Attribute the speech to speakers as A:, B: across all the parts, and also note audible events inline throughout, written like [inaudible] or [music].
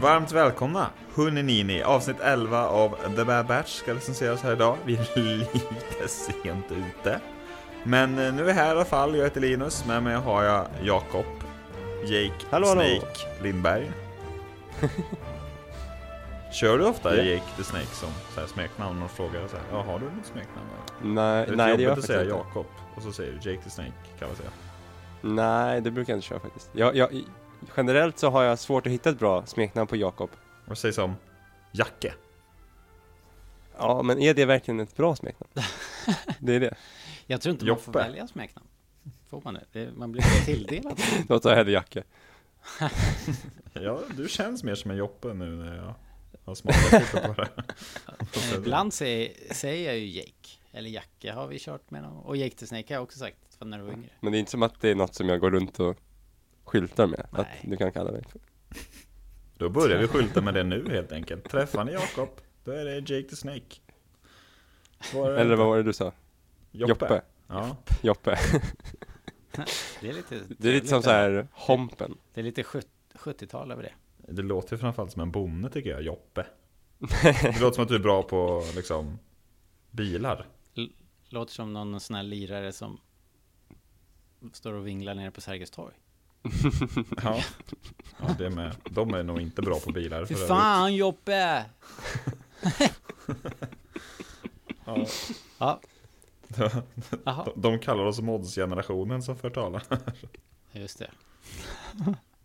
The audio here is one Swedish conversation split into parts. A: Varmt välkomna! Huninini, avsnitt 11 av The Bad Batch ska licensieras här idag. Vi är lite sent ute. Men eh, nu är vi här i alla fall. Jag heter Linus, med mig har jag Jakob, Jake,
B: Hallå, hallå.
A: Snake, Lindberg. Kör du ofta
B: Ja.
A: Jake the Snake som så här, smeknamn och frågar så här, ja, har du något smeknamn? eller?"
B: Nej,
A: Det är
B: nej
A: nej, jobbigt
B: det gör jag
A: att
B: faktiskt
A: säga
B: inte.
A: Jakob och så säger du Jake the Snake kallas jag.
B: Nej, det brukar jag inte köra faktiskt. Jag, jag, generellt så har jag svårt att hitta ett bra smeknamn på Jakob.
A: Och säger som Jacke.
B: Ja, men är det verkligen ett
A: [laughs]
B: bra smeknamn? det är det.
C: Jag tror inte man får
A: Joppe.
C: välja smeknamn. Får man det? det? Man blir inte [laughs] tilldelad.
B: Då tar jag hellre Jacke.
A: Ja, du känns mer som en Joppe nu när jag har smakat lite på det.
C: Eh, Ibland säger, säger jag ju Jake. Eller Jacke har vi kört med någon. Och Jake the Snake har jag också sagt från när du var yngre.
B: Men det är inte som att det är något som jag går runt och skyltar med.
C: Nej.
B: Att du kan kalla mig för.
A: Då börjar vi skylta med det nu helt enkelt. Träffar ni Jakob, då är det Jake the Snake. Svarar
B: Eller vad var det du sa? Joppe.
A: Ja.
B: Joppe.
C: Det är lite,
B: Det är lite som så här Hompen.
C: Det är lite sjut- 70-tal över det.
A: Det låter ju framförallt som en bonde tycker jag,
B: [laughs]
A: Joppe. Det låter som att du är bra på liksom bilar.
C: L- låter som någon sån här lirare som står och vinglar nere på Sergels torg.
A: Ja, ja det med. De är nog inte bra på bilar för
C: Fy
A: övrigt.
C: fan Joppe!
A: Ja.
C: Ja,
A: De,
C: aha,
A: [laughs] de kallar oss mods-generationen som förtalar.
C: just det.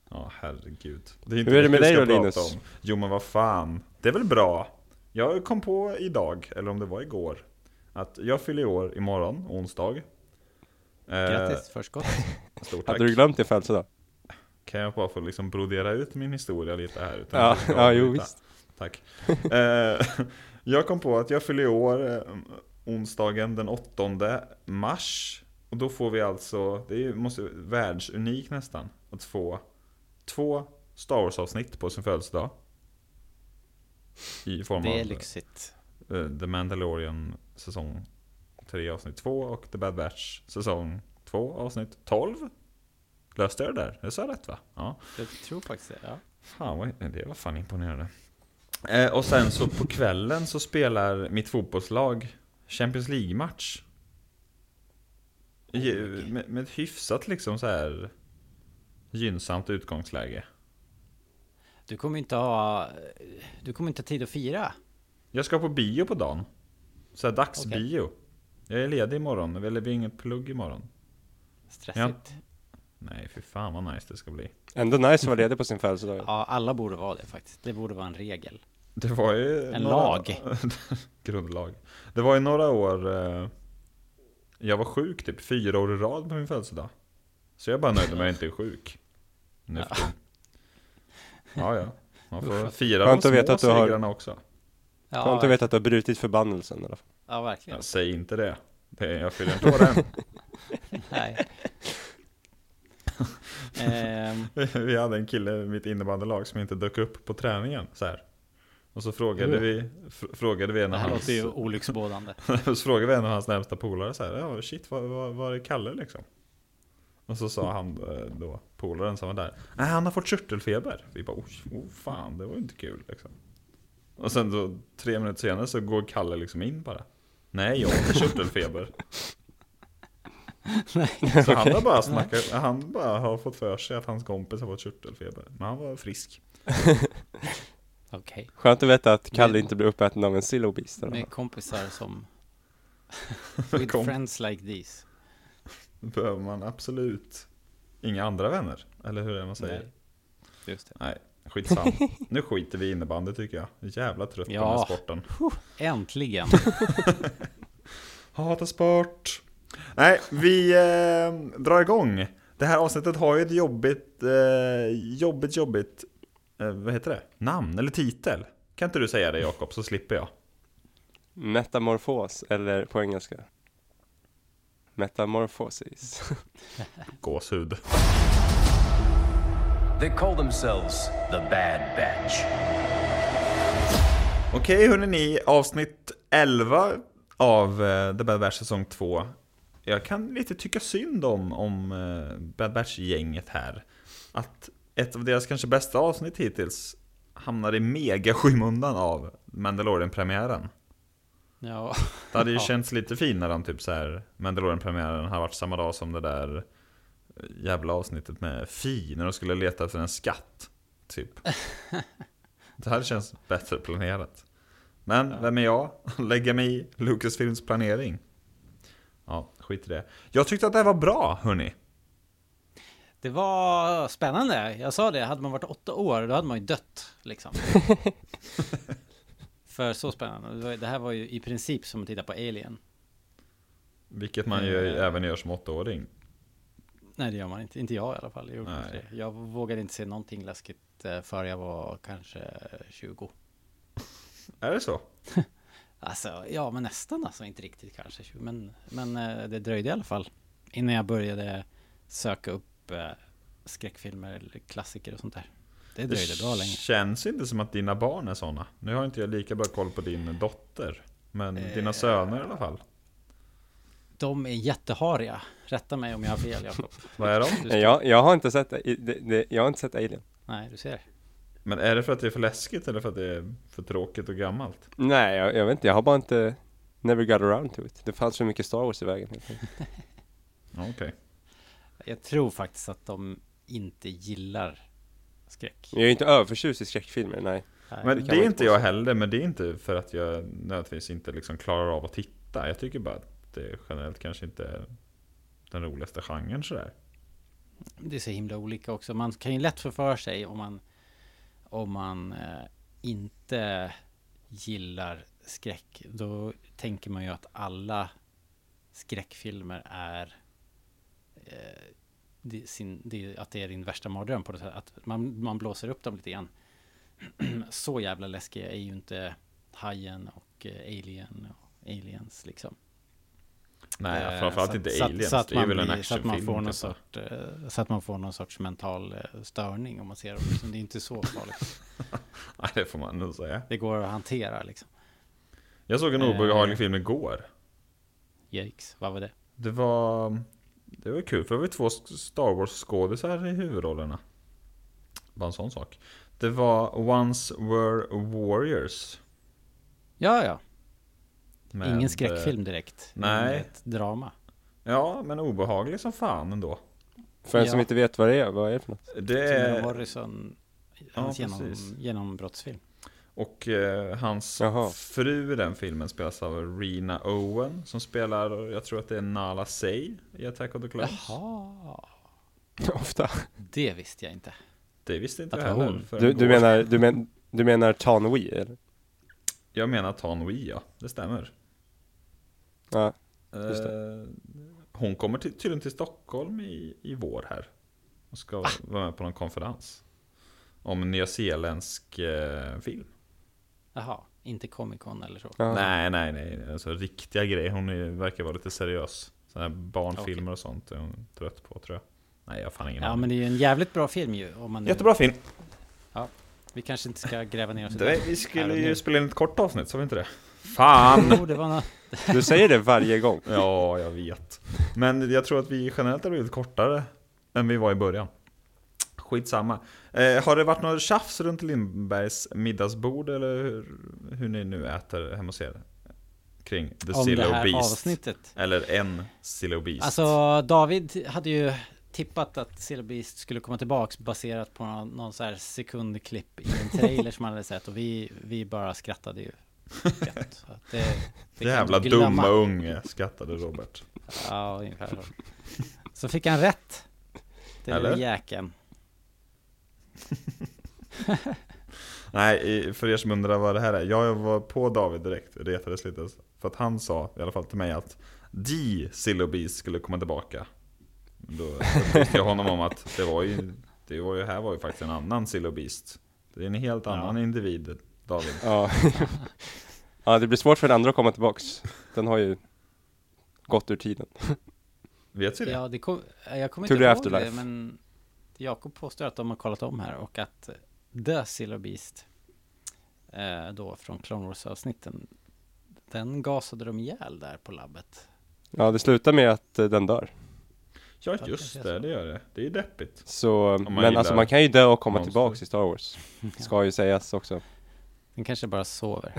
A: Ja, herregud. Det inte
B: Hur är det med
A: vi
B: dig
A: ska
B: då,
A: prata
B: Linus?
A: om. Jo, men vad fan. Det är väl bra. Jag kom på idag, eller om det var igår, att jag fyller år imorgon, onsdag. Eh,
C: Grattis förskott.
A: Stort tack.
B: Hade du glömt din födelsedag?
A: Kan jag bara få liksom brodera ut min historia lite här? Utan
B: Ja,
A: att jag
B: ja, jo
A: avbryta?
B: visst.
A: Tack. [laughs] Eh, jag kom på att jag fyller i år eh, onsdagen den 8 mars. Och då får vi alltså, det är ju- måste världsunik nästan, att få två Star Wars-avsnitt på sin födelsedag. I form
C: Det är
A: av
C: lyxigt.
A: eh, The Mandalorian säsong 3 avsnitt 2 och The Bad Batch säsong 2 avsnitt 12. Löste jag det där? Jag sa rätt va? Ja.
C: Jag tror faktiskt det. Ja.
A: Fan, vad, det var fan imponerande. Eh, och sen så på kvällen så spelar mitt fotbollslag Champions League-match. Ge- Med, med ett hyfsat liksom så här gynnsamt utgångsläge.
C: Du kommer inte ha... Du kommer inte ha tid att fira.
A: Jag ska på bio på dagen. Så här dagsbio. Jag är ledig imorgon, eller vi har inget plugg imorgon.
C: Stressigt.
A: Nej, för fan vad nice det ska bli.
B: Ändå nice att vara ledig på sin födelsedag.
C: Ja, alla borde vara det faktiskt. Det borde vara en regel.
A: Det var ju...
C: En
A: några-
C: lag.
A: [laughs] Grundlag. Det var ju några år eh, jag var sjuk typ fyra år i rad på min födelsedag. Så jag bara nöjde mig att inte är sjuk. Nu för tiden. Ja, ja. Man får fira
B: Skönt
A: de
B: att veta
A: små
B: att du har-
A: segrarna också.
C: Ja,
B: Skönt att veta att du har brutit förbannelsen i alla fall.
C: ja verkligen.
A: Ja, säg inte det. det är, jag fyller inte år än. [laughs]
C: Nej. [laughs] Ehm,
A: Vi hade en kille i mitt innebandylag som inte dök upp på träningen. Så här. Och så frågade vi, fr- frågade vi en
C: det
A: av
C: här
A: hans...
C: låter ju olycksbådande.
A: [laughs] så frågade vi en av hans närmsta polare så här, ja shit vad, vad, vad är Kalle liksom? Och så sa han eh, då, polaren som var där, nej han har fått körtelfeber. Vi bara, oh, oh fan det var ju inte kul liksom. Och sen då tre minuter senare så går Kalle liksom in bara. Nej jag har inte körtelfeber. Så han har bara snackat, han bara har fått för sig att hans kompis har fått körtelfeber. Men han var frisk.
C: Okej.
B: Skönt att veta att Kalle
C: Men-
B: inte blir uppäten av en Zillow Beast. eller vad?
C: Med kompisar
A: [laughs]
C: som... With
A: Kom.
C: friends like these.
A: Då behöver man absolut inga andra vänner. Eller hur är det man säger?
C: Nej. Just det.
A: Skitsamma. Nu skiter vi i innebandy tycker jag. Jag är Jävla trött på den här
C: Ja.
A: sporten. [laughs]
C: Äntligen!
A: Hata sport. Nej, vi eh, drar igång. Det här avsnittet har ju ett jobbigt, eh, jobbigt, jobbigt, eh, vad heter det? Namn eller titel? Kan inte du säga det Jakob så slipper jag?
B: Metamorfos, eller på engelska. Metamorphosis.
A: Gåshud.
D: They call themselves the Bad Batch.
A: Okej hörni ni, avsnitt 11 av eh, The Bad Batch säsong 2. Jag kan lite tycka synd om, om eh, Bad Batch-gänget här. Att ett av deras kanske bästa avsnitt hittills hamnar i mega skymundan av Mandalorian-premiären.
C: ja,
A: Det hade ju
C: Ja.
A: känts lite finare om typ så här Mandalorian-premiären har varit samma dag som det där eh, jävla avsnittet med Fi när de skulle leta efter en skatt.
C: [laughs]
A: Typ. Det hade känts bättre planerat. Men vem är jag? [laughs] Lägga mig i Lucasfilms planering. Ja, skit i det. Jag tyckte att det här var bra, hörni.
C: det var spännande. Jag sa det, hade man varit åtta år, då hade man ju dött
A: [laughs]
C: liksom. För så spännande. Det var- Det här var ju i princip som att titta på Alien.
A: Vilket man ju
C: Mm.
A: även gör som åttaåring.
C: Nej, det gör man inte. Inte jag i alla fall. Jag, gjorde
A: Nej.
C: inte det. jag vågade inte se någonting läskigt eh, före jag var kanske 20.
A: Är det så?
C: Alltså, ja, men nästan alltså. Inte riktigt kanske 20, men, men eh, det dröjde i alla fall innan jag började söka upp eh, skräckfilmer eller klassiker och sånt där. Det dröjde bra länge.
A: känns inte som att dina barn är såna. Nu har inte jag lika bra koll på din dotter. Men
C: Eh.
A: dina söner i alla fall.
C: De är jättehariga. Rätta mig om jag har fel, Jakob.
A: Vad är de?
C: Du
B: [laughs]
C: ska-
B: Nej, jag, jag har inte sett, i- det, det, jag har inte sett Alien.
C: Nej, du ser.
A: Men är det för att det är för läskigt eller för att det är för tråkigt och gammalt?
B: Nej, jag, jag vet inte, jag har bara inte, never got around to it. Det fanns för mycket Star Wars i vägen. helt enkelt.
A: Ja, Okej.
C: Jag tror faktiskt att de inte gillar skräck.
B: Jag är ju inte överförtjust i skräckfilmer, nej.
C: Nej.
A: Men det
B: man
A: är
B: inte
A: inte jag heller, men det är inte för att jag nödvändigtvis inte liksom klarar av att titta. Jag tycker bara att det generellt kanske inte är den roligaste genren sådär.
C: Det är så himla olika också. Man kan ju lätt förföra sig om man, om man eh, inte gillar skräck. Då tänker man ju att alla skräckfilmer är eh, det, sin, det, att det är din värsta mardröm på något sätt. Att man, man blåser upp dem lite grann. [clears throat] så jävla läskiga är ju inte Hajen och eh, Alien och Aliens liksom.
A: Nej,
C: Eh,
A: framförallt
C: så
A: inte
C: att- så att-
A: Aliens.
C: Så att
A: det är
C: man
A: väl en
C: blir- så att man
A: actionfilm.
C: får någon
A: typ. [laughs]
C: sort, eh, så att man får någon sorts mental eh, störning om man ser dem. Liksom. Det är inte så farligt.
A: Nej, det får man nog säga.
C: Det går att hantera liksom.
A: Jag såg en
C: Eh.
A: obehaglig film igår.
C: Jakes, vad var det?
A: Det var... Det var kul, för det var ju två Star Wars-skådisar i huvudrollerna. Bara en sån sak. Det var Once Were Warriors.
C: Ja, ja.
A: med-
C: Ingen skräckfilm direkt.
A: eh, nej.
C: Men Ett drama.
A: Ja, men obehaglig som fan ändå.
B: För en som
C: Ja.
B: inte vet vad det är, vad är det för något?
A: Det
C: Tim
A: är,
C: Morrison,
A: Eh, Ja,
C: hans genom,
A: precis.
C: genombrottsfilm.
A: och eh, hans
B: Jaha.
A: fru i den filmen spelas av Rena Owen som spelar, jag tror att det är Nala Say i Attack of the Clones.
C: Jaha,
B: [laughs] Ofta.
C: det visste jag inte.
A: Det visste inte
C: Att
A: jag
C: det var
A: heller.
C: hon.
A: förrän
B: Du, du
A: igår.
B: menar, du, men, du menar Tanwi, eller?
A: Jag menar Tanwi, ja. Det stämmer.
B: Ja. Just
A: Eh, hon kommer till, tydligen till Stockholm i, i vår här. Och ska vara med på någon konferens. Om nyzeeländsk eh, film.
C: Jaha, inte Comic Con eller så.
B: ja.
A: Nej, nej, nej. Alltså riktiga grejer. Hon är, verkar vara lite seriös. Sådana här barnfilmer och sånt är hon trött på tror jag. Nej, jag har fan ingen
C: Ja,
A: aning.
C: men det är ju en jävligt bra film ju. Om man nu,
A: Jättebra film.
C: Vi kanske inte ska gräva ner oss i
A: Det,
C: den
A: vi
C: här
A: skulle
C: och
A: ju
C: nu.
A: spela in ett kort avsnitt, sa vi inte det?
C: [laughs]
A: Fan!
C: Jo, det var nå-
B: Du säger det varje gång.
A: ja, jag vet. Men jag tror att vi generellt har blivit kortare än vi var i början. Skitsamma. Eh, har det varit något tjafs runt Lindbergs middagsbord eller hur, hur ni nu äter hemma hos er? Kring The
C: om det
A: Silly
C: här
A: Beast.
C: avsnittet.
A: Eller en Silly Beast.
C: Alltså David hade ju tippat att Silverbeast skulle komma tillbaks baserat på någon, någon så här sekundklipp i en trailer som man hade sett och vi, vi bara skrattade ju. gött. Så att det, det kan
A: Jävla
C: du glömma.
A: dumma unge, skrattade Robert.
C: Ja, ungefär så. Så fick han rätt. Den
A: Eller?
C: lille jäkeln.
A: Nej, i- för er som undrar vad det här är. Jag var på David direkt, retades lite. För att han sa, i alla fall till mig, att de Sillobis skulle komma tillbaka. Men Då upplyste jag honom om att det var ju, det var ju, här var ju faktiskt en annan Sillobist. Det är en helt annan individ, David.
B: [laughs] Ja. ja, det blir svårt för den andra att komma tillbaks. Den har ju gått ur tiden.
A: Vet vi det?
C: Ja, det kom, jag kommer
B: To
C: inte
B: the
C: ihåg
B: afterlife.
C: det, men Jakob påstår att de har kollat om här och att The Silver Beast, eh, då från Clone Wars-avsnitten, den gasade de ihjäl där på labbet.
B: Ja, det slutar med att eh, den dör.
A: Ja,
C: kanske
A: just
C: är
A: det,
C: så.
A: det gör det. Det är ju deppigt.
B: Så,
A: man
B: men alltså
A: gillar
B: man kan ju dö och komma
A: monster.
B: tillbaks i Star Wars. Ska ju sägas också.
C: Den kanske bara sover,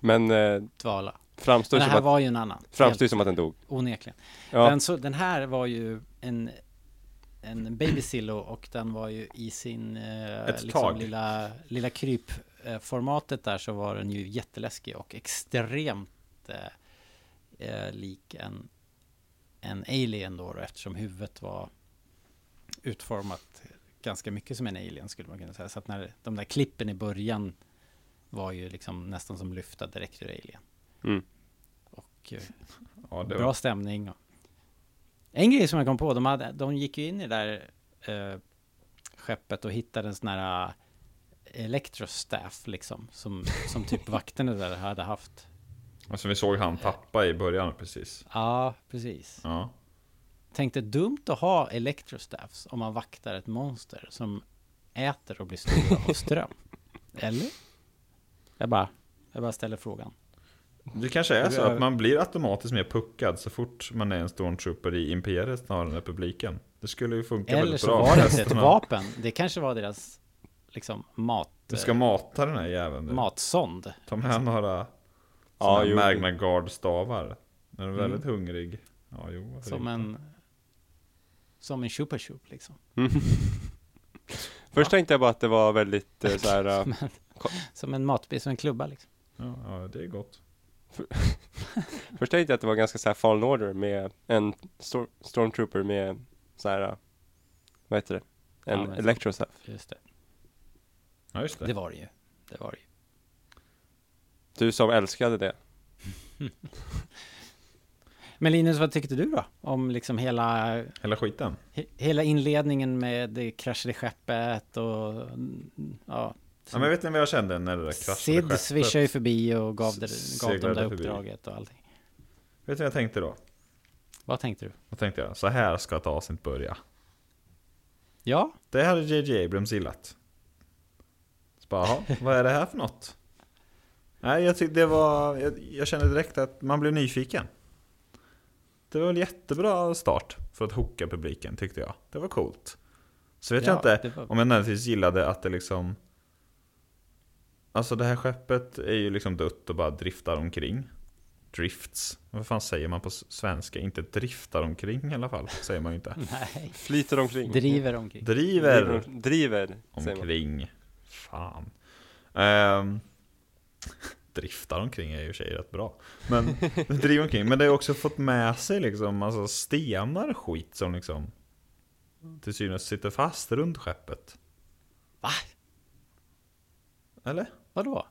B: Men eh,
C: dvala.
B: framstår
C: Men det
B: som
C: här
B: att,
C: var ju en annan.
B: framstår
C: helt
B: som att den dog.
C: Onekligen.
B: Ja,
C: Den, så, den här var ju en, en baby Sillo och den var ju i sin eh,
A: Ett
C: liksom
A: tag.
C: lilla, lilla krypformatet där så var den ju jätteläskig och extremt eh, eh, lik en, en alien då, då eftersom huvudet var utformat ganska mycket som en alien skulle man kunna säga. Så att när de där klippen i början var ju liksom nästan som lyfta direkt ur alien.
B: Mm.
C: Och eh,
A: Ja, det
C: Bra
A: var,
C: stämning. och- En grej som jag kom på, de, hade, de gick ju in i det där eh, skeppet och hittade en sån här eh, Electrostaff liksom, som, som
A: [laughs]
C: typ vakterna där hade haft.
A: alltså, vi såg han tappa i början precis.
C: Ja, precis.
A: Ja.
C: Tänkte dumt att ha Electrostaffs om man vaktar ett monster som äter och blir stora
A: [laughs]
C: av ström. Eller? Jag bara, jag bara ställer frågan.
A: Det kanske är så
B: Det är-
A: att man blir automatiskt mer puckad så fort man är en stormtrooper i Imperiet snarare än Republiken. Det skulle ju funka
C: Eller
A: väldigt
C: så
A: bra.
C: var
A: [laughs]
C: det inte ett
A: Resten av-
C: vapen. Det kanske var deras liksom mat,
A: Du ska mata den här jäveln. nu.
C: matsond.
A: Ta med några
B: Ja,
A: ja,
B: jo.
A: Magna Guard-stavar. När du är väldigt hungrig. Ja, jo. varför
C: Mm. Som
A: inte?
C: en... Som en chupa chup liksom.
B: först tänkte jag bara att det var väldigt eh,
C: [laughs]
B: så här, eh,
C: Som en matbit, som en klubba liksom.
A: Ja, ja, det är gott.
B: först tänkte jag att det var ganska så här Fallen Order med en stor, stormtrooper med så här, eh, vad heter det?
C: Ja,
B: En
C: men-
B: electrostaff.
C: Just det.
A: Ja, just det.
C: Det var det ju. Det var det ju.
B: Du som älskade det.
C: Men Linus, vad tyckte du då? Om liksom hela,
A: Hela skiten.
C: he, hela inledningen med det kraschade skeppet och... mm, Ja.
A: Ja, men vet ni vad jag kände när det där kraschade
C: Sid
A: skeppet?
C: swishade ju förbi och gav, det, gav dem
A: Seglade
C: det
A: förbi.
C: uppdraget och allting.
A: Vet ni vad jag tänkte då?
C: Vad tänkte du?
A: Då tänkte jag, så här ska ett avsnitt börja.
C: Ja,
A: Det hade JJ Abrams gillat. Så bara, "Jaha, vad är det här för något? Nej, jag tyckte det var... Jag, jag kände direkt att man blev nyfiken. Det var en jättebra start för att hooka publiken, tyckte jag. Det var coolt. Så vet
C: Ja,
A: jag inte
C: det var-
A: om jag nödvändigtvis gillade att det liksom... Alltså det här skeppet är ju liksom dött och bara driftar omkring. Drifts. Vad fan säger man på s- svenska? Inte driftar omkring i alla fall, säger man ju
C: Mm.
A: inte. [laughs]
C: nej.
B: Flyter omkring.
C: Driver omkring.
A: Driver
B: Driver, säger man.
A: omkring. Fan. Ehm, [laughs] driftar omkring är ju i och för sig rätt bra. Men
B: [laughs]
A: driver omkring. Men det har också fått med sig liksom alltså stenar och skit som liksom till synes sitter fast runt skeppet.
C: Va?
A: Eller?
C: Vadå?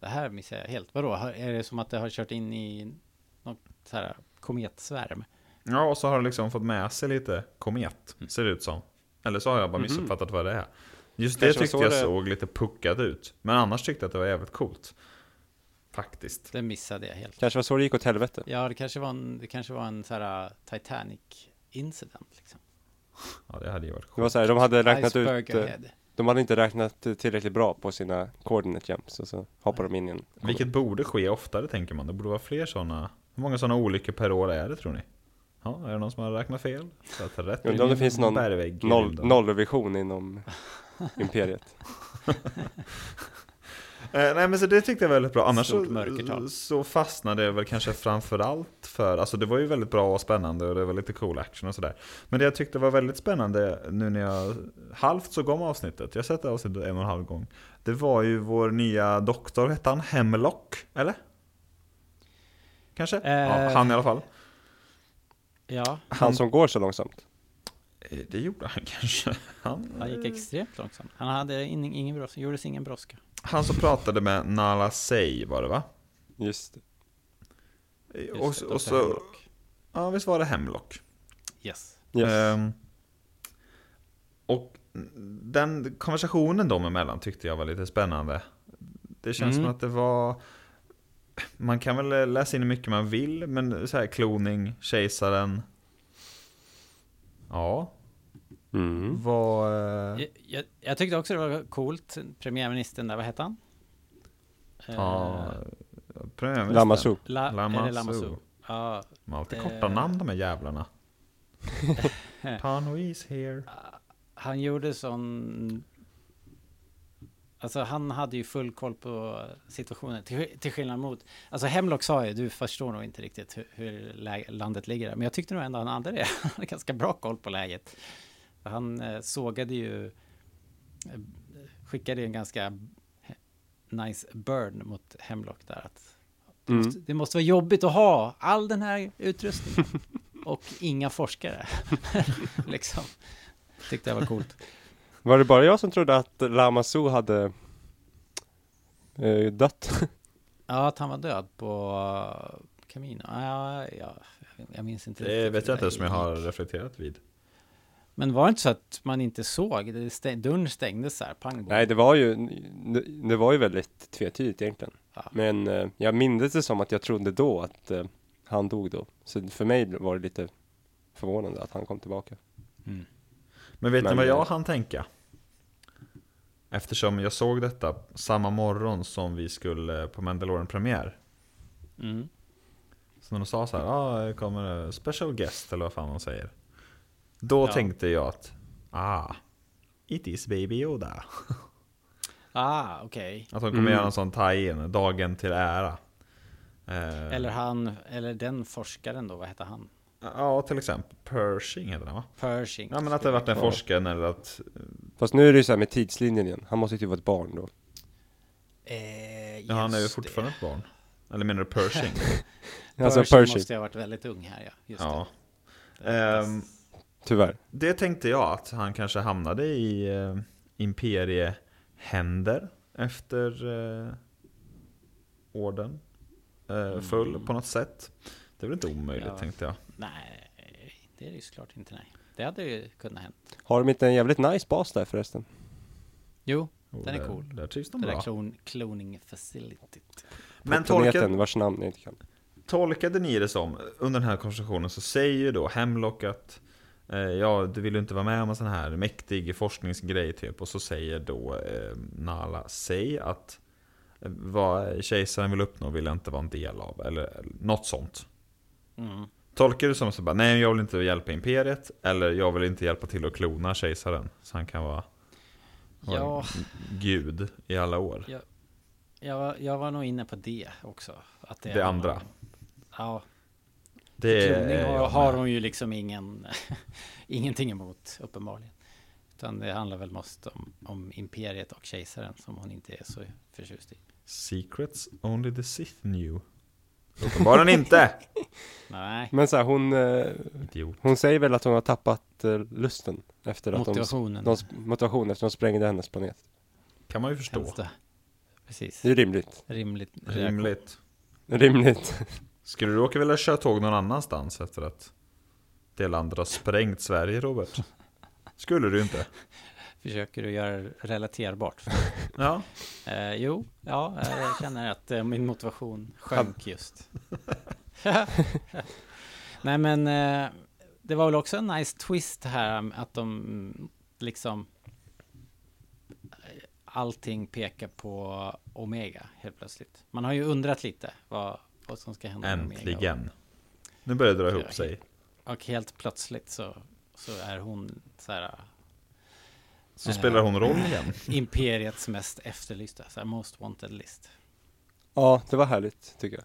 C: Det här missar jag helt. Vadå? Har- Är det som att det har kört in i något så här kometsvärm?
A: Ja, och så har det liksom fått med sig lite komet,
B: Mm.
A: ser det ut som. Eller så har jag bara missuppfattat vad det är. Just det
B: Kanske var
A: tyckte
B: så
A: jag
B: det-
A: såg lite puckad ut. Men annars tyckte jag att det var jävligt coolt. Faktiskt.
C: Det missade jag helt.
B: Kanske var så det gick åt helvete.
C: Ja, det kanske var en, det kanske var en så här uh, Titanic incident liksom.
A: Ja, det hade ju varit
B: Det
A: coolt.
B: var så här, de hade räknat
C: Iceberg
B: ut, eh,
C: ahead.
B: de hade inte räknat eh, tillräckligt bra på sina coordinate jumps och så hoppar de in i en.
A: Vilket borde ske oftare tänker man. Det borde vara fler sådana. Hur många sådana olyckor per år är det tror ni? Ja, är det någon som har räknat fel? Så att rätt
B: Undrar
A: in
B: om det
A: i
B: finns
A: en
B: någon
A: bergvägg i
B: noll,
A: rymden.
B: nollvision inom imperiet.
A: Eh, nej men så det tyckte jag var väldigt bra. Annars
C: Stort mörkertal.
A: så, så fastnade jag väl kanske framförallt för, alltså det var ju väldigt bra och spännande och det var lite cool action och sådär. Men det jag tyckte var väldigt spännande nu när jag halvt såg om avsnittet, jag har sett det avsnittet en och en halv gång. Det var ju vår nya doktor, hette han Hemlock? Eller? Kanske? Ja,
C: Eh.
A: han i alla fall.
C: Ja,
B: Han som går så långsamt.
A: Eh, Det gjorde han [laughs] kanske. Han,
C: han gick extremt långsamt. Han hade in, ingen brådska, gjordes ingen brådska.
A: han som pratade med Nala Sey var det va?
B: Just det.
A: Eh,
C: Just
A: Och,
C: det,
A: så-
C: Dr.
A: och så,
C: Hemlock.
A: ja visst var det Hemlock?
C: Yes.
B: Yes.
A: Ehm, och den konversationen dem emellan tyckte jag var lite spännande. Det känns
C: Mm.
A: som att det var... Man kan väl läsa in hur mycket man vill, men så här kloning, kejsaren. Ja,
B: Mm.
A: vad... eh,
C: Jag, jag, jag tyckte också det var coolt, premiärministern där, vad hette han?
A: Ja,
C: Eh,
A: premiärministern.
B: Lamassu.
C: La,
A: Lamassu.
C: Lamassu. Lamassu. Ja,
A: De har alltid
C: Eh.
A: korta namn de här
C: [laughs]
A: jävlarna. Tano is here.
C: han gjorde sån... Alltså han hade ju full koll på situationen, till, till skillnad mot... Alltså Hemlock sa ju, du förstår nog inte riktigt hur, hur lä- landet ligger där. Men jag tyckte nog ändå han hade det. [laughs] Han hade ganska bra koll på läget. Han eh, sågade ju... eh, Skickade ju en ganska he- nice burn mot Hemlock där. Att det,
B: Mm.
C: måste, det måste vara jobbigt att ha all den här utrustningen. och inga forskare. [laughs] liksom. Tyckte jag var coolt.
B: Var det bara jag som trodde att Lamassu hade eh, dött? [laughs]
C: Ja, att han var död på eh, Camino. Ja, ja, jag- jag minns inte.
A: Det
C: riktigt
A: vet
C: hur
A: jag inte
C: det
A: som jag har
C: gick.
A: reflekterat vid.
C: Men var det inte så att man inte såg? Det stäng, dörren stängdes så här, pang.
B: Nej, det var ju, det var ju väldigt tvetydigt egentligen.
C: Ja.
B: Men eh, jag mindes det som att jag trodde då att eh, han dog då. Så för mig var det lite förvånande att han kom tillbaka.
C: Mm.
A: Men vet ni
B: Men,
A: vad jag
B: eh,
A: hann tänka? Eftersom jag såg detta samma morgon som vi skulle på Mandalorian premiär.
C: Mm.
A: Så när de sa så här, ah, det kommer en special guest eller vad fan de säger. Då
C: Ja.
A: tänkte jag att, ah, it is baby Yoda.
C: Ah, okej.
A: Att de kommer göra en sån tie-in, dagen till ära. Eh,
C: Eller han, eller den forskaren då, vad hette han?
A: Ja, till exempel Pershing heter den va?
C: Pershing.
A: Ja men att det varit en forskare eller att
B: Fast nu är det ju så här med tidslinjen igen. Han måste ju typ vara ett barn då.
C: Eh, just
A: ja, han är ju
C: det.
A: fortfarande ett barn. Eller menar du Pershing?
B: Alltså
C: Pershing,
B: Pershing,
C: måste ju ha varit väldigt ung här, ja. Just
A: ja.
C: det. Fast-
A: Ehm,
B: tyvärr.
A: Det tänkte jag att han kanske hamnade i eh, imperiehänder efter eh, orden eh, full på något sätt. Det är väl inte omöjligt
C: Mm. Ja.
A: tänkte jag.
C: Nej, det är det ju såklart inte, nej. Det hade ju kunnat hänt.
B: Har de inte en jävligt nice bas där förresten?
C: Jo,
A: Och
C: den är
A: där,
C: cool.
A: Där trivs de
C: Det där
A: bra.
C: klon, cloning facilityt.
A: Men
B: Planeten
A: tolkade,
B: vars namn jag inte kan.
A: tolkade ni det som, under den här konversationen så säger ju då Hemlock att eh, ja, du vill ju inte vara med om en sån här mäktig forskningsgrej typ. Och så säger då eh, Nala Sey att eh, vad kejsaren vill uppnå vill jag inte vara en del av. Eller något sånt.
C: Mm.
A: Tolkar du som så bara, nej jag vill inte hjälpa Imperiet, eller jag vill inte hjälpa till att klona kejsaren. Så han kan vara, vara
C: Ja.
A: en gud i alla år.
C: Jag, jag, var, jag var nog inne på det också. Att det,
A: Det andra.
C: Ja,
A: Det
C: kloning
A: är
C: har,
A: jag
C: har
A: med.
C: hon ju liksom ingen, [laughs] ingenting emot uppenbarligen. Utan det handlar väl mest om, om imperiet och kejsaren som hon inte är så förtjust i.
A: Secrets only the Sith knew. Uppenbarligen inte!
C: Nej,
B: Men så här, hon, eh,
A: Idiot.
B: hon säger väl att hon har tappat eh, lusten efter att
C: motivationen.
B: De, de, sp- motivation efter att de sprängde hennes planet.
A: Kan man ju förstå.
C: känns det. Precis.
B: Det är rimligt.
C: Rimligt.
A: Rimligt.
B: Rimligt. [laughs]
A: Skulle du åka vilja köra tåg någon annanstans efter att det landet har sprängt Sverige, Robert? Skulle du inte?
C: Försöker du göra det relaterbart?
A: Ja.
C: Eh, jo, ja, eh, jag känner att eh, min motivation sjönk just. [laughs] Nej, men eh, det var väl också en nice twist här um, att de mm, liksom eh, allting pekar på Omega helt plötsligt. Man har ju undrat lite vad, vad som ska hända med Omega.
A: Äntligen. Nu börjar det dra ihop sig.
C: Och helt plötsligt så, så är hon så här
A: Så spelar hon roll igen.
C: eh, Imperiets mest efterlysta, så här, most wanted list.
B: Ja, det var härligt tycker jag.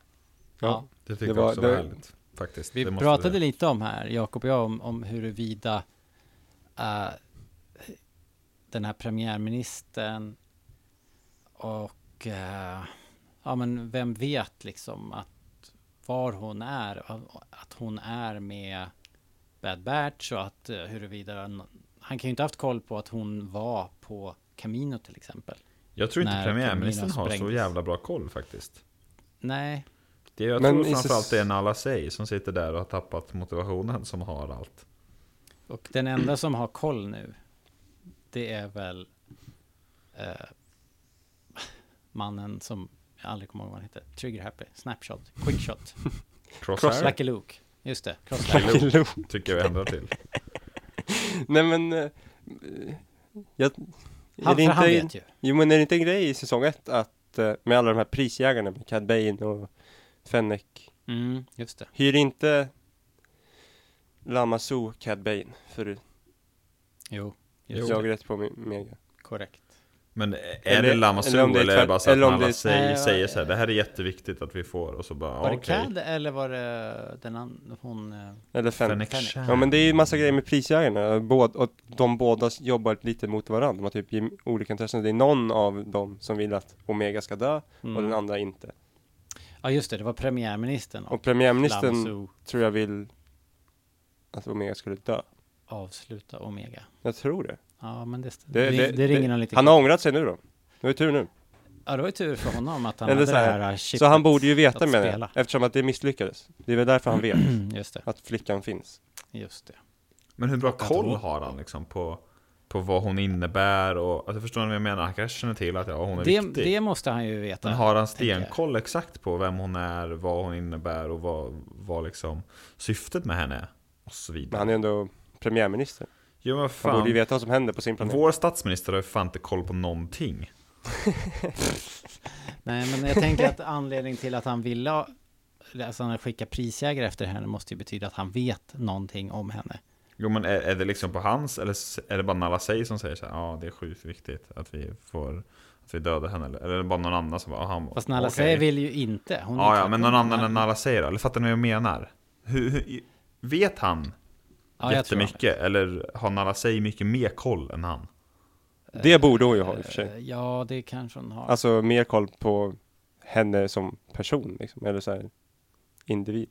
B: Ja.
A: Det tycker
B: Det
A: jag
B: var-
A: också var
B: det-
A: härligt. Faktiskt.
C: Vi
A: Det måste
C: pratade
A: vi-
C: lite om här, Jakob och jag, om, om huruvida eh, den här premiärministern och eh, ja, men vem vet liksom att var hon är, att hon är med Bad Batch och att eh, huruvida n- han kan ju inte haft koll på att hon var på Camino till exempel.
A: Jag tror inte
C: när
A: premiärministern
C: Camino
A: har så
C: sprängdes.
A: jävla bra koll faktiskt.
C: Nej,
A: Det, jag
B: Men
A: tror
B: i säs-
A: framförallt det är Nala Sey som sitter där och har tappat motivationen som har allt.
C: Och den enda som har koll nu, det är väl eh, [laughs] mannen som, jag aldrig kommer ihåg vad han heter, Trigger Happy, Snapshot, Quickshot,
A: Crosshair
C: Lucky Luke, just det, Crosshair.
B: Lucky Luke.
A: tycker jag vi ändrar till.
B: Nej men... eh, Jag, är
C: Han,
B: det
C: för han
B: inte,
C: vet ju.
B: jo men är det inte en grej i säsong ett att eh, med alla de här prisjägarna med Cad Bane och Fennec.
C: Mm, just det.
B: Hyr inte Lamassu Cad Bane för
C: Jo, just
B: jag
C: det.
B: rätt på me- mega.
C: korrekt.
A: Men är
B: Eller-
A: det Lamassu
B: eller om det
A: eller,
B: är
A: är det
B: tvärt-
A: bara så att
B: eller om det
A: Nala
B: är-
A: Sey
C: Nej,
A: säger
C: jag-
A: så här, det här är jätteviktigt att vi får och så bara
C: Var
A: "Ah,
C: det
A: okej.
C: Cad eller var det den andra, hon, eh,
B: Eller Fennec.
A: Fennec
C: Fennec.
A: Shand.
B: Ja men det är ju massa grejer med prisjägarna. Båd, och de båda jobbar lite mot varandra. De har typ gem- olika intressen. Det är någon av dem som vill att Omega ska dö och den
C: mm.
B: andra inte.
C: ja just det, det var premiärministern
B: Och
C: och
B: premiärministern
C: Lamassu
B: tror jag vill att Omega skulle dö.
C: avsluta Omega.
B: Jag tror det.
C: Ja, men det, det,
B: Det- det-
C: det, ringer någon lite
B: Han har ångrat sig nu då. Det är tur nu.
C: Ja, det var ju tur för honom att han
B: Eller
C: hade
B: så
C: det
B: här,
C: här eh,
B: Så
C: chippet
B: han borde ju veta
C: att
B: med
C: spela.
B: det. Eftersom att det misslyckades. Det är väl därför
C: [clears throat]
B: han vet
C: Just det,
B: att flickan finns.
C: just det.
A: Men hur bra
C: att
A: koll
C: hon-
A: har han liksom på, på vad hon innebär och, alltså förstår ni vad jag menar? Han kanske känner till att ja, hon är
C: Det,
A: viktig.
C: det måste han ju veta.
A: Men har han
C: tänker jag.
A: stenkoll exakt på vem hon är, vad hon innebär och vad, vad liksom syftet med henne är? Och så
B: Men
A: vidare.
B: han är ändå premiärminister.
A: Jo men
B: Han borde
A: fan,
B: ju veta vad som händer på sin planet.
A: vår statsminister har ju fan inte koll på någonting.
C: Nej, men jag tänker att anledningen till att han ville ha- alltså han skicka prisjägare efter henne måste ju betyda att han vet någonting om henne.
A: Jo men är, är det liksom på hans, eller s- är det bara Nala Sey som säger så här, ja det är sjukt viktigt att vi får, att vi dödar henne? Eller, eller är det bara någon annan som bara, "Ah, han
C: Fast Nala
A: okej."
C: Sey vill ju inte. Hon är
A: Ja, ja,
C: tvärtom.
A: men någon annan än Nala Sey då? Eller fattar ni vad jag menar? Hur, hur, vet han
C: Ja, jag tror han
A: jättemycket? Eller har Nala Sey mycket mer koll än han?
B: Det borde hon ju ha i och för
C: vet.
B: sig.
C: Eh, Ja, det kanske hon har.
B: Alltså mer koll på henne som person liksom. Eller så här individ.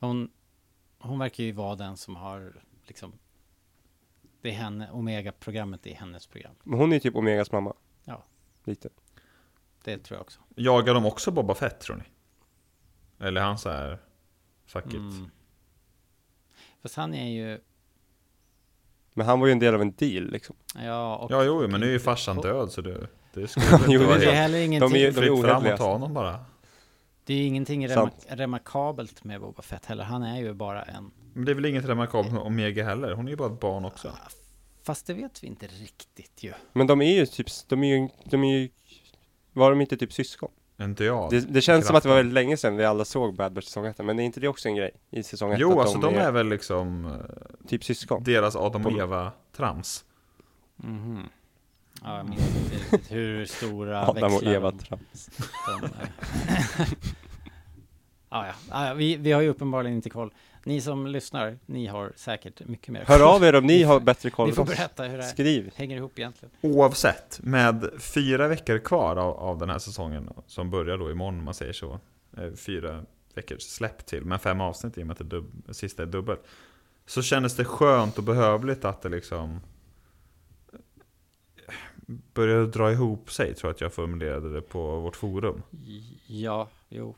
C: Hon, hon verkar ju vara den som har liksom... Det är henne, Omega-programmet är hennes program.
B: Men hon är ju typ Omegas mamma.
C: Ja.
B: Lite.
C: Det tror jag också.
A: Jagar de också Boba Fett tror ni? Eller är han så här, fuck it.
C: Mm. Fast han är ju...
B: Men han var ju en del av en deal liksom.
C: Ja, och
A: Ja, jo, men nu är ju farsan död så det,
C: [laughs]
A: det skulle
B: Jo,
A: inte
B: det
A: vara
C: det
A: helt
C: är heller
B: De är
C: ingenting,
B: ju-
A: fritt fram
B: ohederliga.
A: att ta honom bara.
C: det är ju ingenting rema,
B: Sant.
C: remarkabelt med Boba Fett heller. Han är ju bara en...
A: Men det är väl inget remarkabelt med Omega heller? Hon är ju bara ett barn också.
C: Fast det vet vi inte riktigt ju.
B: Men de är ju typ, de är ju, de är ju, var de inte typ syskon?
A: Inte jag.
B: Det, det känns som att det var väldigt länge sedan vi alla såg Bad Batch säsong 1, men är inte det också en grej i säsong 1?
A: Jo,
B: att
A: alltså de
B: är
A: är väl liksom eh,
B: typ syskon.
A: deras Adam och
B: De-
A: Eva-trams.
C: Ja, jag minns inte riktigt hur stora
B: Mhm. Adam och
C: växlar [laughs]
B: Eva
C: de-
B: Trams.
C: de, eh, ja, ja. ja ja, vi, vi har ju uppenbarligen inte koll. Ni som lyssnar, ni har säkert mycket mer
B: Hör av er om ni har bättre koll
C: Ni får
B: än oss.
C: berätta hur det här
B: Skriv.
C: hänger ihop egentligen.
A: Oavsett, med fyra veckor kvar av, av den här säsongen som börjar då imorgon om man säger så. eh, Fyra veckors släpp till, men fem avsnitt i och med att det dub- det sista är dubbelt. Så kändes det skönt och behövligt att det liksom eh, började dra ihop sig, tror jag att jag formulerade det på vårt forum.
C: Ja, jo.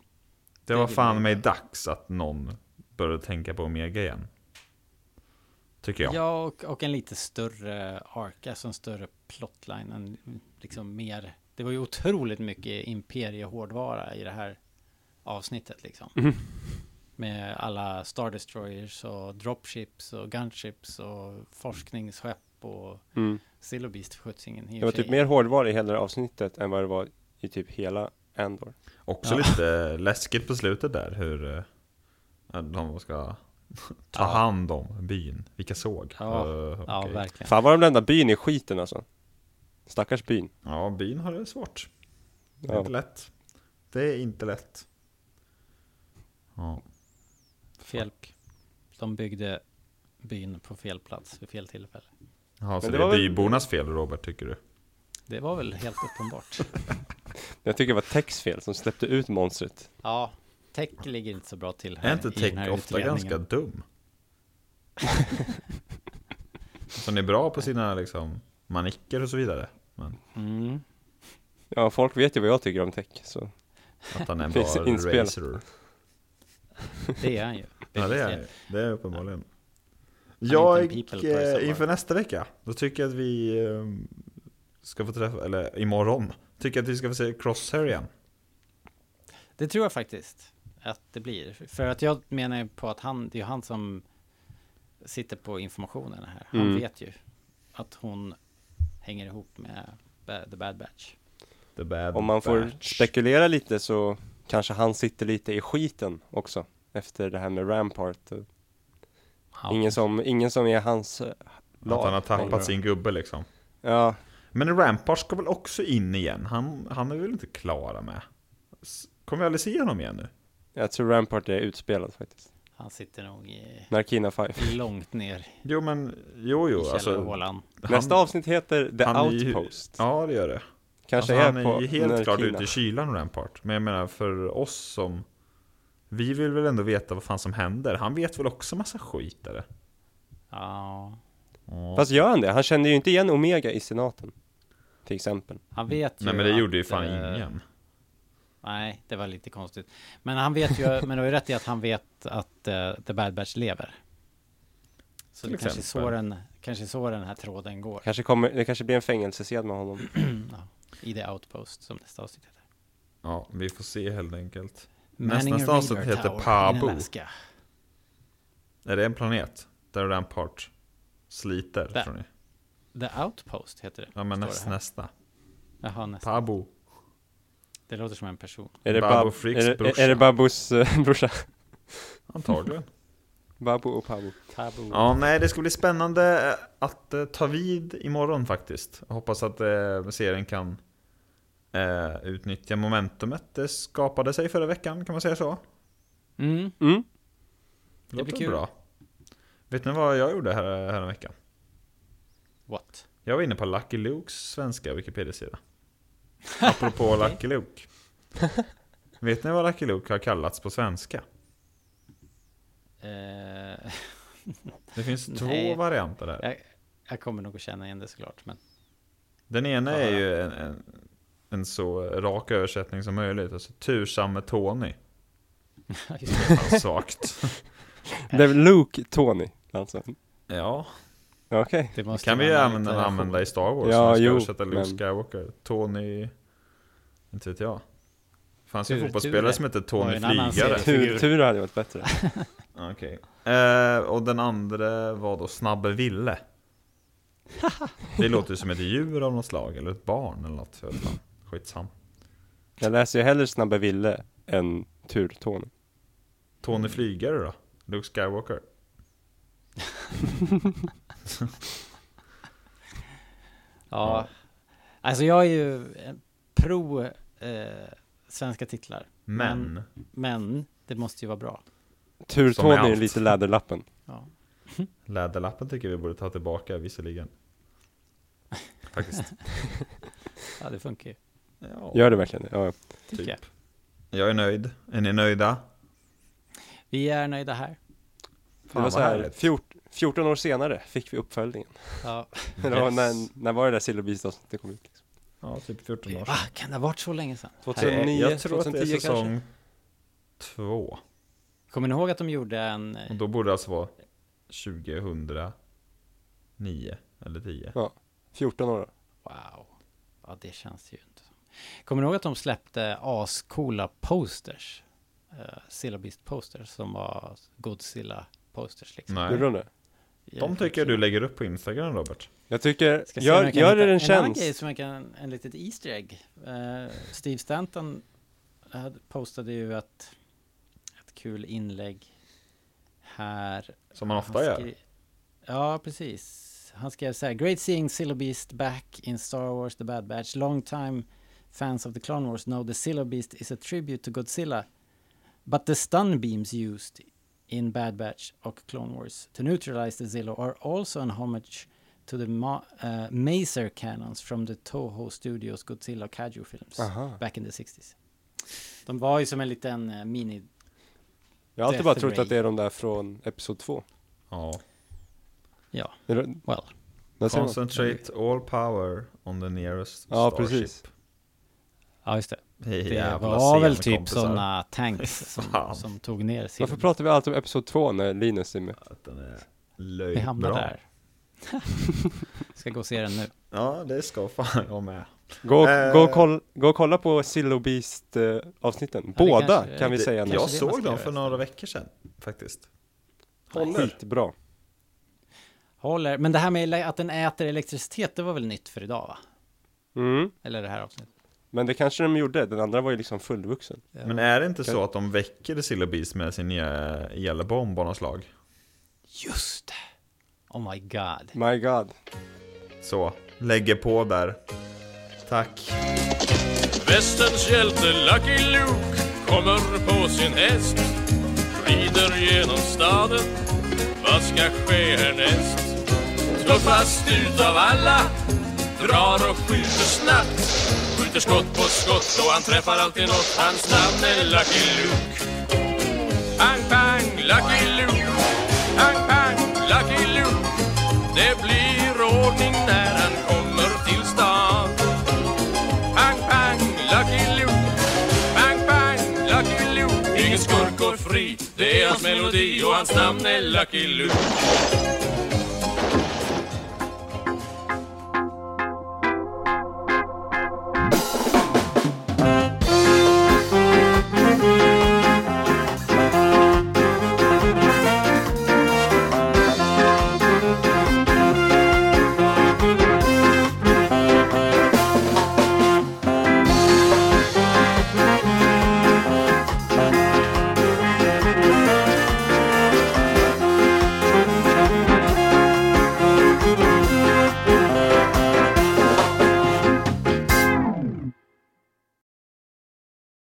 A: Det
C: Det
A: var
C: vill
A: fan
C: jag
A: mig
C: inte.
A: dags att någon började tänka på Omega igen. Tycker jag.
C: Ja, och, och en lite större ark, alltså en större plotline. En, liksom mer, det var ju otroligt mycket imperie-hårdvara i det här avsnittet liksom.
A: Mhm.
C: Med alla Star Destroyers och dropships och gunships och forskningsskepp och
B: Mm.
C: Silver Beast för sjuttsingen. i och
B: Det var
C: för sig.
B: typ mer hårdvara i hela det avsnittet än vad det var i typ hela Andor.
A: Också lite läskigt på slutet där hur eh, de ska Ta hand om byn. Vilka såg?
C: Ja,
A: Eh,
C: ja
A: okej.
C: verkligen.
B: Fan vad de bländar byn i skiten alltså. Stackars byn.
A: ja, byn har det svårt. Det är
B: Ja.
A: inte lätt. Det är inte lätt. Ja.
C: Fel. De byggde byn på fel plats vid fel tillfälle.
A: Jaha, så
B: det
A: det,
B: var
A: är
B: väl-
A: bybornas fel Robert, tycker du?
C: Det var väl helt
A: [laughs]
C: uppenbart.
B: Jag tycker det var Tex fel som släppte ut monstret.
C: Ja, tech ligger inte så bra till här
A: Är inte
C: i den här
A: Tech ofta
C: utredningen.
A: ganska
C: [laughs]
A: dum? Som är bra på sina liksom, manicker och så vidare. Men
C: Mm.
B: Ja, folk vet ju vad jag tycker om tech, så.
A: att han är
B: [laughs]
A: en
B: Finns
A: bra
B: inspelat.
A: racer.
C: Det är han ju.
A: Ja, det är, det är uppenbarligen.
C: inte en
A: Jag,
C: people person
A: eh, inför
C: bara.
A: nästa vecka, då tycker jag att vi eh, ska få träffa, eller imorgon, tycker jag att vi ska få se Crosshair igen.
C: Det tror jag faktiskt att det blir. För att jag menar ju på att han, det är ju han som sitter på informationen här. Han
B: Mm.
C: vet ju att hon hänger ihop med Ba- The Bad Batch.
A: The bad
B: Om man får
A: batch.
B: spekulera lite så kanske han sitter lite i skiten också. Efter det här med Rampart. Ingen, som, ingen som är hans eh, lag.
A: Att han har
B: längre.
A: tappat sin gubbe liksom.
B: Ja,
A: Men Rampart ska väl också in igen? Han, han är väl inte klara med? S- Kommer vi aldrig se honom igen nu?
B: jag tror Rampart är utspelad faktiskt.
C: Han sitter nog i,
B: Narkina 5.
C: långt ner
A: Jo men, jo jo.
C: i källarhålan.
A: han-
B: Nästa avsnitt heter The
A: han är ju-
B: Outpost.
A: Ja det gör det.
B: Kanske
A: alltså,
B: är
A: han
B: på
A: är ju helt klart
B: Narkina.
A: ute i kylan Rampart. Men jag menar för oss som... Vi vill väl ändå veta vad fan som händer. Han vet väl också massa skit eller?
C: Ja,
B: Fast gör han det? Han kände ju inte igen Omega i senaten. Till exempel.
C: han vet ju
A: Nej men det
C: att,
A: gjorde ju fan
C: eh,
A: ingen.
C: Nej, det var lite konstigt. Men han vet ju, men du har ju rätt i att han vet att eh, The Bad Batch lever. Så
A: Till
C: det kanske är, så
A: exempel.
C: den, kanske är så den här tråden går
B: Kanske kommer, det kanske blir en fängelsesed med honom.
C: ja, i The Outpost som nästa avsnitt heter.
A: Ja, vi får se helt enkelt.
C: Manning
A: nästa
C: Reaver
A: avsnitt heter
C: Tower
A: Pabu.
C: in Alaska.
A: Är det en planet? Där Rampart sliter
C: Där.
A: tror ni?
C: The Outpost heter det.
A: Ja men
C: står
A: näst,
C: det här.
A: nästa.
C: Jaha, nästa.
A: Pabo.
C: Det låter som en person.
B: Är det,
A: Babu
B: Bab-
A: Freaks
B: är, det,
A: brorsa?
B: är det Babus eh, [laughs] brorsa?
A: Antagligen.
B: Babu och Pabu.
C: Pabu.
A: Ja, nej, det ska bli spännande eh, att eh, ta vid imorgon faktiskt. Jag hoppas att eh, serien kan eh, utnyttja momentumet det skapade sig förra veckan, kan man säga så?
C: Mm.
B: Mm.
A: Det
C: blir kul.
A: bra. Vet ni vad jag gjorde här, här veckan?
C: What?
A: Jag var inne på Lucky Lukes svenska
C: [laughs]
A: Wikipedia-sida. Apropå Lucky Luke. Vet ni vad Lucky Luke har kallats på svenska?
C: Eh, [laughs]
A: Det finns
C: Nej.
A: två varianter här.
C: jag, jag kommer nog att känna igen det såklart, men [laughs]
A: Den ena
C: Vad
A: är
C: har
A: ju en, en, en så rak översättning som möjligt. Alltså tursamme Tony.
C: just det.
A: Fan,
C: [laughs]
A: Svagt.
B: Det är Luke Tony. Alltså.
A: Ja,
B: Okej.
C: det
A: det
C: måste
A: kan vi ju
C: vara en
A: använda,
C: iteration.
A: använda i Star Wars.
B: Ja,
A: när vi ska
B: jo,
A: översätta Luke
B: men-
A: Skywalker. Tony... Inte vet jag. Det fanns ju en
C: Tur-
A: fotbollsspelare
C: Ture
A: som hette
C: var ju
A: Tony
C: en annan
A: Flygare.
C: serie.
B: Tur,
C: Figur.
B: tur hade varit bättre.
A: Okej. Eh, och den andra var då Snabbe
C: [laughs]
A: Ville. Det låter ju som ett djur av något slag, eller ett barn eller något. jag vet fan. Skitsam.
B: Jag läser ju hellre Snabbe Ville än Tur Tony.
A: Tony Flygare då? Luke Skywalker?
C: Ja. Alltså jag är ju eh, pro eh, svenska titlar. Mm.
A: Men...
C: Men det måste ju vara bra.
B: Tur
A: Som med
B: Tony är
A: allt.
B: lite läderlappen.
C: Ja.
A: Läderlappen tycker vi borde ta tillbaka
C: [laughs]
A: visserligen. Faktiskt.
C: ja, det funkar ju.
A: Ja,
B: Gör det verkligen det? Ja, ja.
C: Tycker
A: Typ.
C: jag.
A: Jag är nöjd. Är ni nöjda?
C: Vi är nöjda här.
B: Det var
A: vad
B: så här,
A: härligt.
B: 14, 14 år senare fick vi uppföljningen. [laughs]
C: Ja.
B: Det var
A: Yes.
B: när, när var det där Silverbeast-avsnittet kom ut? Liksom?
A: Ja, typ 14 år
C: Va? Ah, Kan det ha varit så länge sedan?
B: 2009,
A: jag tror att det
B: 2010
A: är
B: kanske?
A: säsong två.
C: Kommer ni ihåg att de gjorde en... eh,
A: Och då borde det alltså vara 2009 eller 10.
B: 14 år.
C: Wow. Ja, det känns ju inte som. Kommer ni ihåg att de släppte ascoola posters? Uh, Silla Beast posters som var Godzilla posters liksom.
A: Nej.
B: Gjorde de det?
A: De tycker jag du lägger upp på Instagram Robert.
B: Jag tycker,
C: Ska se om
B: gör,
C: jag kan hitta
B: gör det en
C: En annan
B: tjänst.
C: grej som jag kan, en litet Easter egg. Eh, Steve Stanton hade- postade ju ett, ett kul inlägg här.
A: Som man ofta
C: Han
A: gör.
C: skri- Ja, precis. Han skrev så här. Great seeing Silo Beast back in Star Wars The Bad Batch. Long time fans of the Clone Wars know the Silo Beast is a tribute to Godzilla. But the stun beams used in Bad Batch och Clone Wars to neutralize the Zillo are also an homage to the Ma- uh, Maser cannons from the Toho Studios Godzilla Kaiju films
B: Aha.
C: back in the 60s. De var ju som en liten eh, mini...
B: Jag har alltid
C: Death
B: bara trott
C: Ray.
B: att det är de där från Episod 2.
A: Ja.
C: Ja,
B: Är det-
C: well.
B: Där ser man.
A: Concentrate all power on the nearest
B: Ja,
A: starship.
B: precis.
C: Ja, just det.
A: Hej,
C: Det
A: jävla
C: var väl
A: scenkompisar.
C: typ sådana tanks som,
A: Fan.
C: som tog ner
B: Varför
C: Silver.
B: pratar vi alltid om Episod 2 när Linus är med?
A: Att den är
C: Vi
A: löjligt
C: hamnar
A: bra.
C: där. [laughs] Ska gå och se den nu.
A: Ja, det ska fan jag med.
B: Gå och,
A: Eh.
B: gå och, koll, gå och kolla på Sillo Beast eh, avsnitten.
C: Ja, det
B: Båda
C: kanske-
B: kan vi
A: Det-
B: säga Alltså, nu.
A: Jag
C: Kanske det man
A: såg
C: ska
A: dem
C: göra
A: för några veckor sedan faktiskt. Håller.
B: Skitbra.
C: Håller. Men det här med ele- att den äter elektricitet, det var väl nytt för idag va?
B: Mm.
C: Eller det här avsnittet.
B: Men det kanske de gjorde, den andra var ju liksom fullvuxen.
A: Men är det inte
B: Kan-
A: så att de väcker Silla Beast med sin nya elbomb av något slag?
C: Just det! Oh my god.
B: My God.
A: Så, lägger på där. Tack.
E: Västerns hjälte Lucky Luke kommer på sin häst Rider genom staden, vad ska ske härnäst? Tuffast utav alla, drar och skjuter snabbt Skjuter skott på skott och han träffar alltid något Hans namn är Lucky Luke Pang, pang, Lucky Luke Pang, pang, Lucky Luke Det blir ordning när han kommer till stan Bang, bang, Lucky Luke Bang, bang, Lucky Luke Ingen skurk går fri Det är hans melodi och hans namn är Lucky Luke